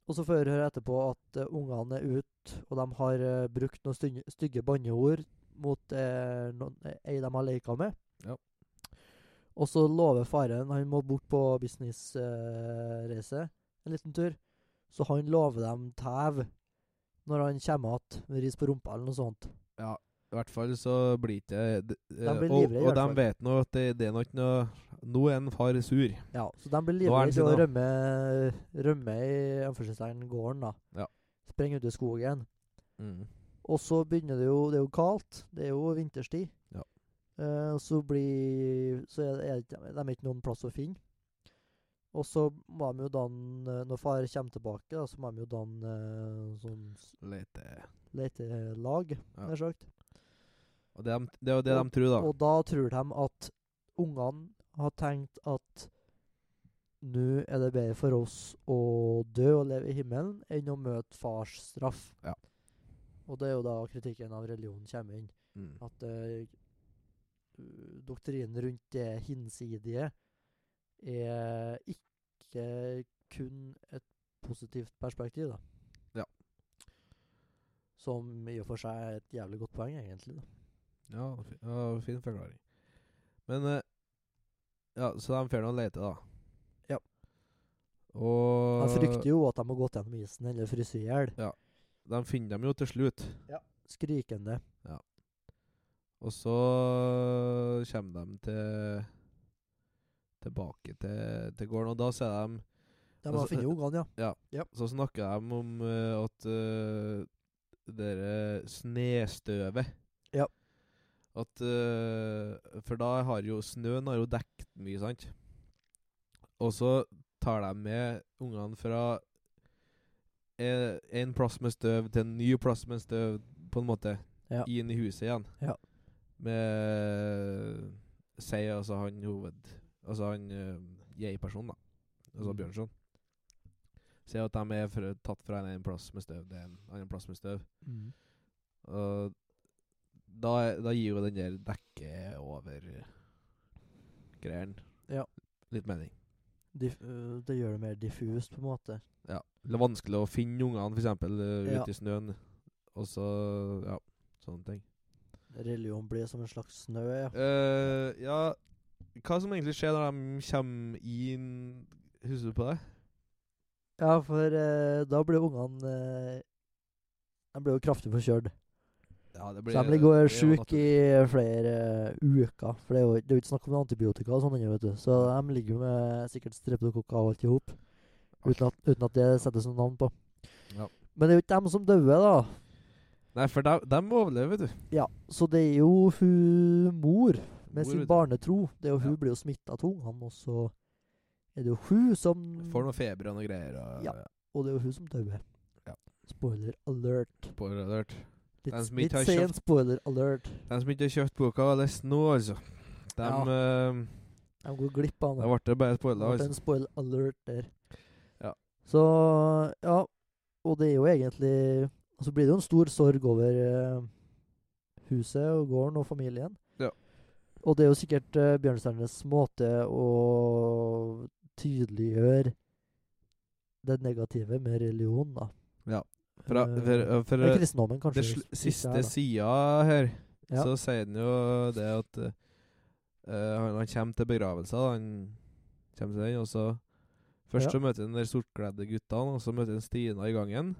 [SPEAKER 2] Og så får jeg høre etterpå at eh, ungene er ute, og de har eh, brukt noen stygge, stygge banneord mot eh, noen, eh, ei de har leka med.
[SPEAKER 3] Ja.
[SPEAKER 2] Og så lover faren Han må bort på businessreise eh, reise en liten tur. Så han lover dem tæv når han kommer igjen med ris på rumpa eller noe sånt.
[SPEAKER 3] I hvert fall så blir ikke det eh,
[SPEAKER 2] De blir
[SPEAKER 3] Og,
[SPEAKER 2] livredde i
[SPEAKER 3] og
[SPEAKER 2] hvert
[SPEAKER 3] de
[SPEAKER 2] fall.
[SPEAKER 3] vet nå at det, det er nok noe Nå er en far sur.
[SPEAKER 2] Ja, så de blir
[SPEAKER 3] Nå
[SPEAKER 2] livredde
[SPEAKER 3] er den
[SPEAKER 2] til å
[SPEAKER 3] sinna.
[SPEAKER 2] rømme, rømme i anførselstegn gården, da.
[SPEAKER 3] Ja.
[SPEAKER 2] Sprenge ut i skogen. Mm.
[SPEAKER 3] Mhm.
[SPEAKER 2] Og så begynner det jo Det er jo kaldt. Det er jo vinterstid.
[SPEAKER 3] Ja.
[SPEAKER 2] Eh, og så blir Så er det, er det ikke- de er ikke noen plass å finne. Og så må de jo danne eh, Når far kommer tilbake, da, så må de jo danne eh, sånn s-
[SPEAKER 3] Lete.
[SPEAKER 2] letelag,
[SPEAKER 3] Ja.
[SPEAKER 2] nær sagt.
[SPEAKER 3] Og det, er de- det er jo det de tror, da.
[SPEAKER 2] Og da tror de at ungene har tenkt at nå er det bedre for oss å dø og leve i himmelen enn å møte fars straff.
[SPEAKER 3] Ja.
[SPEAKER 2] Og det er jo da kritikken av religionen kommer inn.
[SPEAKER 3] Mhm.
[SPEAKER 2] At eh, uh, doktrinen rundt det hinsidige er ikke kun et positivt perspektiv, da.
[SPEAKER 3] Ja.
[SPEAKER 2] Som i og for seg er et jævlig godt poeng, egentlig. da.
[SPEAKER 3] Ja, fi- ja, fin forklaring. Men eh, Ja, så de får nå lete, da.
[SPEAKER 2] Ja. Altså,
[SPEAKER 3] Og
[SPEAKER 2] Jeg frykter jo at de har gått gjennom isen eller fryst i hjel.
[SPEAKER 3] de finner dem jo til slutt.
[SPEAKER 2] Skrikende.
[SPEAKER 3] Og så kommer de til tilbake til, til gården, og da ser de
[SPEAKER 2] De
[SPEAKER 3] Altså,
[SPEAKER 2] har funnet
[SPEAKER 3] eh,
[SPEAKER 2] ungene, ja.
[SPEAKER 3] Så snakker de om eh, at eh, det derre snøstøvet
[SPEAKER 2] Ja.
[SPEAKER 3] At eh, For da har jo snøen har jo dekt mye, sant? Og så tar de med ungene fra eh, en plass med støv til en ny plass med støv, på en måte,
[SPEAKER 2] Ja.
[SPEAKER 3] inn i huset igjen.
[SPEAKER 2] Ja.
[SPEAKER 3] Med Sier altså han hoved... Altså han eh, jeg-personen, da. Altså
[SPEAKER 2] Mhm.
[SPEAKER 3] Bjørnson. Sier at de er fra, tatt fra en, en plass med støv til en annen plass med støv. Og da, er- da gir jo den der dekke over-greien
[SPEAKER 2] Ja.
[SPEAKER 3] litt mening.
[SPEAKER 2] Diff, eh, det gjør det mer diffust, på en måte.
[SPEAKER 3] Ja. Det er vanskelig å finne ungene, f.eks. ute
[SPEAKER 2] Ja.
[SPEAKER 3] i snøen. Og så Ja, sånne ting.
[SPEAKER 2] Religion blir som en slags snø. Ja.
[SPEAKER 3] Eh, ja Hva som egentlig skjer når de kommer inn Husker du på det?
[SPEAKER 2] Ja, for eh, da blir ungene eh, De blir jo kraftig forkjørt.
[SPEAKER 3] Ja, det
[SPEAKER 2] Så de
[SPEAKER 3] det
[SPEAKER 2] ligger
[SPEAKER 3] er
[SPEAKER 2] jo
[SPEAKER 3] jo
[SPEAKER 2] sjuke
[SPEAKER 3] naturlig.
[SPEAKER 2] i flere eh, uker. For det er jo det er jo ikke snakk om antibiotika og sånn ennå, vet du. Så de ligger jo med sikkert streptokokker og alt i hop. Uten, at- uten at det settes noe navn på.
[SPEAKER 3] Ja.
[SPEAKER 2] Men det er jo ikke dem som døde, da.
[SPEAKER 3] Nei, for de, de overlever, vet du.
[SPEAKER 2] Ja, så det er jo hun mor
[SPEAKER 3] Mor,
[SPEAKER 2] med sin
[SPEAKER 3] vet du.
[SPEAKER 2] barnetro. Det er jo Hun
[SPEAKER 3] Ja.
[SPEAKER 2] blir jo smitta av ungene, og så er det jo hun som
[SPEAKER 3] Får noe feber og noe greier. Og,
[SPEAKER 2] Ja. Og det er jo hun som dør.
[SPEAKER 3] Ja.
[SPEAKER 2] Spoiler alert.
[SPEAKER 3] Spoiler alert.
[SPEAKER 2] Litt,
[SPEAKER 3] Den som
[SPEAKER 2] litt
[SPEAKER 3] ikke har
[SPEAKER 2] sen spoiler alert.
[SPEAKER 3] De som ikke har kjøpt boka, les nå, altså. De,
[SPEAKER 2] Ja.
[SPEAKER 3] eh,
[SPEAKER 2] Jeg går glipp av
[SPEAKER 3] da
[SPEAKER 2] noe.
[SPEAKER 3] ble det bare
[SPEAKER 2] Det ble
[SPEAKER 3] spoila. Altså.
[SPEAKER 2] en spoiler alert der.
[SPEAKER 3] Ja.
[SPEAKER 2] Så ja. Og det er jo egentlig Og så blir det jo en stor sorg over eh, huset og gården og familien.
[SPEAKER 3] Ja.
[SPEAKER 2] Og det er jo sikkert eh, Bjørnstjernes måte å tydeliggjøre det negative med religion, da.
[SPEAKER 3] Fra,
[SPEAKER 2] Eh,
[SPEAKER 3] for, for,
[SPEAKER 2] Eller kristendommen, kanskje.
[SPEAKER 3] det
[SPEAKER 2] hvis-
[SPEAKER 3] sl
[SPEAKER 2] hvis det
[SPEAKER 3] siste
[SPEAKER 2] er, da.
[SPEAKER 3] sida her,
[SPEAKER 2] Ja.
[SPEAKER 3] så sier den jo det at eh, eh, han, han kommer til begravelsen. da. Han kommer til den, og så Først
[SPEAKER 2] Ja.
[SPEAKER 3] så møter han de sortkledde guttene, og så møter han Stina i gangen.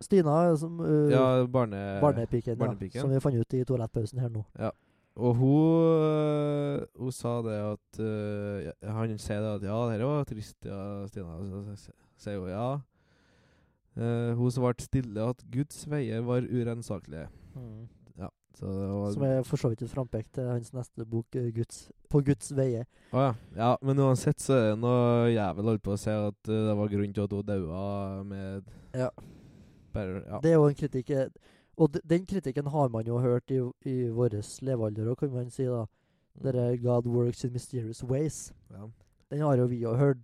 [SPEAKER 2] Stina, som eh,
[SPEAKER 3] Ja, barne...
[SPEAKER 2] barnepiken,
[SPEAKER 3] barnepiken.
[SPEAKER 2] Ja, som vi fant ut i toalettpausen her nå.
[SPEAKER 3] Og hun, øh, hun sa det at øh, ja, Han sier det at ja, dette var trist, ja, Stina. Så s- sier hun ja. Eh, hun svarte stille at Guds veier var urensakelige. Mm. Så det var
[SPEAKER 2] Som er for så vidt et frampek til hans neste bok, eh, Guds, 'På Guds veie'.
[SPEAKER 3] Å ja. ja. Men uansett så er det noe jævel holdt på å si at øh, det var grunn til at hun daua med
[SPEAKER 2] Ja.
[SPEAKER 3] Bare, ja.
[SPEAKER 2] Det er jo en kritikk eh, Og d- den kritikken har man jo hørt i, i vår levealder òg, kan man si. da Dere 'God works in mysterious ways'.
[SPEAKER 3] ja.
[SPEAKER 2] Den har jo vi jo hørt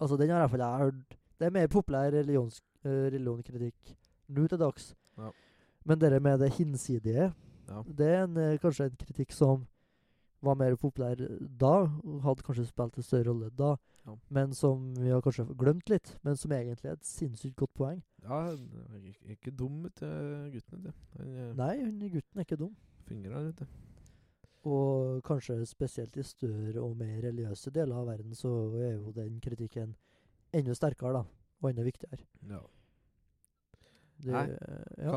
[SPEAKER 2] Altså, den har i hvert fall jeg hørt. Det er mer populær religions, eh, religionskritikk nå til dags.
[SPEAKER 3] Ja.
[SPEAKER 2] Men dere med det hinsidige,
[SPEAKER 3] Ja.
[SPEAKER 2] det er en, eh, kanskje en kritikk som var mer populær da, og hadde kanskje spilt en større rolle da,
[SPEAKER 3] Ja.
[SPEAKER 2] men som vi har kanskje glemt litt, men som egentlig er et sinnssykt godt poeng.
[SPEAKER 3] ja ikke, ikke dum, vet du, gutten. Vet du. Han øh,
[SPEAKER 2] Nei, hun gutten er ikke dum.
[SPEAKER 3] fingrene, vet du.
[SPEAKER 2] Og kanskje spesielt i større og mer religiøse deler av verden, så er jo den kritikken enda sterkere, da, og enda viktigere.
[SPEAKER 3] Ja.
[SPEAKER 2] Det,
[SPEAKER 3] Nei.
[SPEAKER 2] Ja,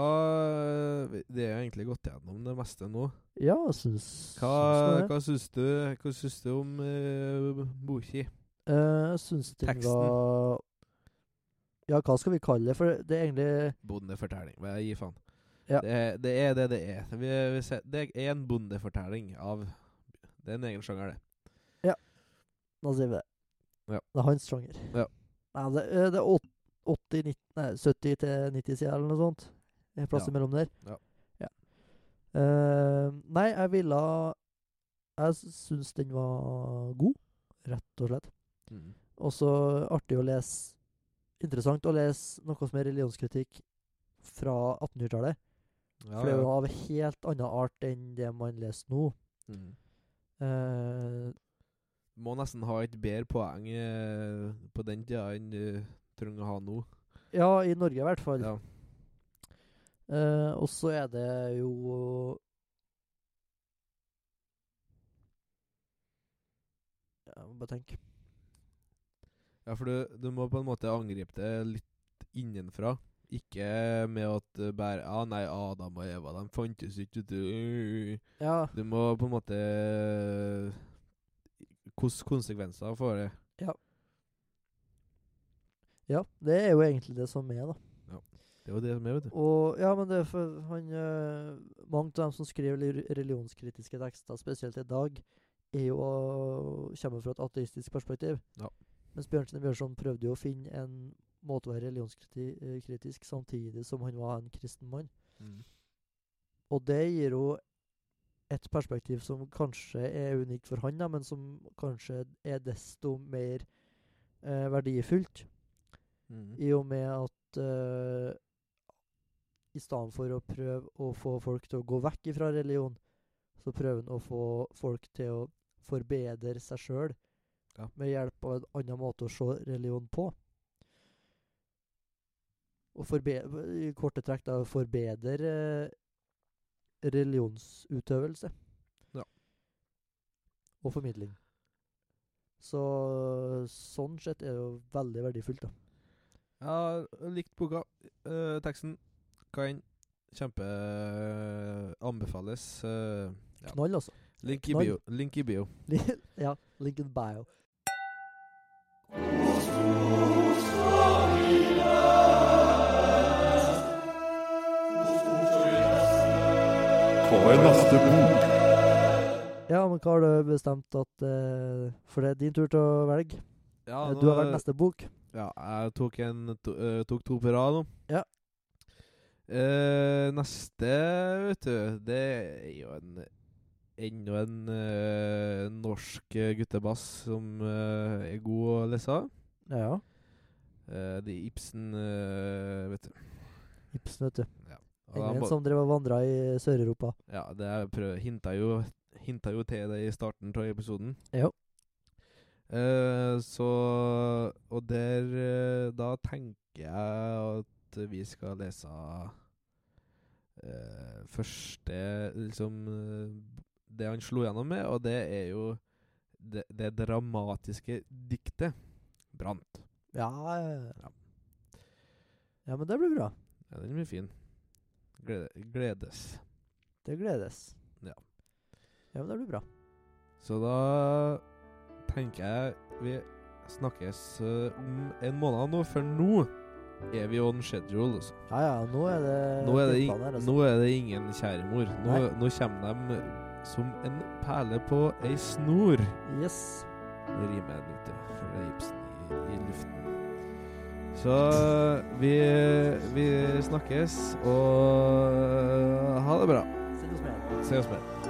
[SPEAKER 3] Hva, det er jo egentlig gått gjennom det meste nå.
[SPEAKER 2] ja jeg syns,
[SPEAKER 3] Hva,
[SPEAKER 2] syns nå det.
[SPEAKER 3] hva, syns, du, hva syns du om uh, Boki?
[SPEAKER 2] Eh, Jeg syns den
[SPEAKER 3] Teksten.
[SPEAKER 2] var Ja, hva skal vi kalle det? For det er egentlig
[SPEAKER 3] Bondefortelling. Hva jeg gir faen.
[SPEAKER 2] Ja.
[SPEAKER 3] Det, er- det er det det er. Vi, vi ser, det er en bondefortelling av Det er en egen sjanger, det.
[SPEAKER 2] Da sier vi det.
[SPEAKER 3] Ja.
[SPEAKER 2] Det er hans sjanger.
[SPEAKER 3] Ja.
[SPEAKER 2] Nei, det, eh, det er åt- 80, 90, nei, 70 til 90 sider eller noe sånt. En plass
[SPEAKER 3] Ja.
[SPEAKER 2] imellom der.
[SPEAKER 3] Ja.
[SPEAKER 2] Ja. Eh, nei, jeg ville Jeg syns den var god, rett og slett.
[SPEAKER 3] Mm.
[SPEAKER 2] Og så artig å lese Interessant å lese noe som er religionskritikk fra 1800-tallet.
[SPEAKER 3] Ja,
[SPEAKER 2] for det er
[SPEAKER 3] ja.
[SPEAKER 2] jo av helt annen art enn det man leser nå.
[SPEAKER 3] Mm.
[SPEAKER 2] Eh,
[SPEAKER 3] Må nesten ha et bedre poeng eh, på den tida enn du trenger å ha nå.
[SPEAKER 2] ja, i Norge i hvert fall.
[SPEAKER 3] Ja.
[SPEAKER 2] Eh, og så er det jo Jeg må bare tenke.
[SPEAKER 3] Ja, for du, du må på en måte angripe det litt innenfra. Ikke med at eh, bare Ja, nei, Adam og Eva, de fantes ikke, vet du.
[SPEAKER 2] Ja,
[SPEAKER 3] Du må på en måte Hvilke konsekvenser får det?
[SPEAKER 2] ja, det er jo egentlig det som er, da.
[SPEAKER 3] Det er jo det som er, vet du.
[SPEAKER 2] Og ja, men det er for han eh, Mange av dem som skriver li- religionskritiske tekster, spesielt i dag, er jo eh, kommer fra et ateistisk perspektiv.
[SPEAKER 3] Ja.
[SPEAKER 2] Mens Bjørnsen Bjørnson prøvde jo å finne en måte å være religionskritisk samtidig som han var en kristen mann.
[SPEAKER 3] Mm.
[SPEAKER 2] Og det gir jo et perspektiv som kanskje er unikt for han, da, men som kanskje er desto mer eh, verdifullt,
[SPEAKER 3] Mm.
[SPEAKER 2] i og med at eh, i stedet for å prøve å få folk til å gå vekk ifra religion, så prøver han å få folk til å forbedre seg sjøl
[SPEAKER 3] Ja.
[SPEAKER 2] med hjelp av en annen måte å se religion på. Og forbe- i korte trekk da forbedre eh, religionsutøvelse.
[SPEAKER 3] Ja.
[SPEAKER 2] Og formidling. Så sånn sett er det jo veldig verdifullt, da.
[SPEAKER 3] Jeg har likt boka. eh, teksten. Hva enn. Kjempe anbefales. eh, Ja.
[SPEAKER 2] Knoll, altså.
[SPEAKER 3] link, i
[SPEAKER 2] Knall.
[SPEAKER 3] bio, link i bio.
[SPEAKER 2] ja. Lincoln Bio.
[SPEAKER 1] Hva er neste bok?
[SPEAKER 2] Ja, men hva har du bestemt at eh, For det er din tur til å velge.
[SPEAKER 3] Ja,
[SPEAKER 2] Eh,
[SPEAKER 3] nå-
[SPEAKER 2] du har valgt neste bok.
[SPEAKER 3] Ja, jeg tok, en, to, eh, tok to på rad nå.
[SPEAKER 2] Ja.
[SPEAKER 3] Eh, neste, vet du, det er jo en enda en eh, norsk eh, guttebass som eh, er god å lese.
[SPEAKER 2] Ja.
[SPEAKER 3] Eh, det er Ibsen, eh, vet du.
[SPEAKER 2] Ibsen, vet du.
[SPEAKER 3] Og jeg
[SPEAKER 2] Ingen
[SPEAKER 3] må-
[SPEAKER 2] som drev og vandra i Sør-Europa.
[SPEAKER 3] Ja, det jeg prøv, hinta, jo, hinta jo til det i starten av episoden.
[SPEAKER 2] Jo.
[SPEAKER 3] Eh, så Og der eh, Da tenker jeg at vi skal lese eh, første Liksom eh, Det han slo gjennom med, og det er jo det, det dramatiske diktet 'Brant'.
[SPEAKER 2] Ja, ja,
[SPEAKER 3] Ja.
[SPEAKER 2] ja. ja, men det blir bra.
[SPEAKER 3] Ja, den blir fin. Glede, gledes.
[SPEAKER 2] Det gledes.
[SPEAKER 3] Ja.
[SPEAKER 2] Ja, men det blir bra.
[SPEAKER 3] Så da tenker jeg vi snakkes eh, om en måned nå, for nå er vi on schedule. Altså.
[SPEAKER 2] Ja, ja, nå er det
[SPEAKER 3] Nå, er det
[SPEAKER 2] tippene
[SPEAKER 3] ing-
[SPEAKER 2] her, altså.
[SPEAKER 3] nå er det ingen kjære mor. Nå,
[SPEAKER 2] Nei.
[SPEAKER 3] nå kommer de som en perle på ei snor.
[SPEAKER 2] Yes.
[SPEAKER 3] Det rimer en ute, for det er Ibsen i, i luften. Så eh, vi, vi snakkes, og eh, ha det bra.
[SPEAKER 2] Send oss mer.
[SPEAKER 3] Se oss mer.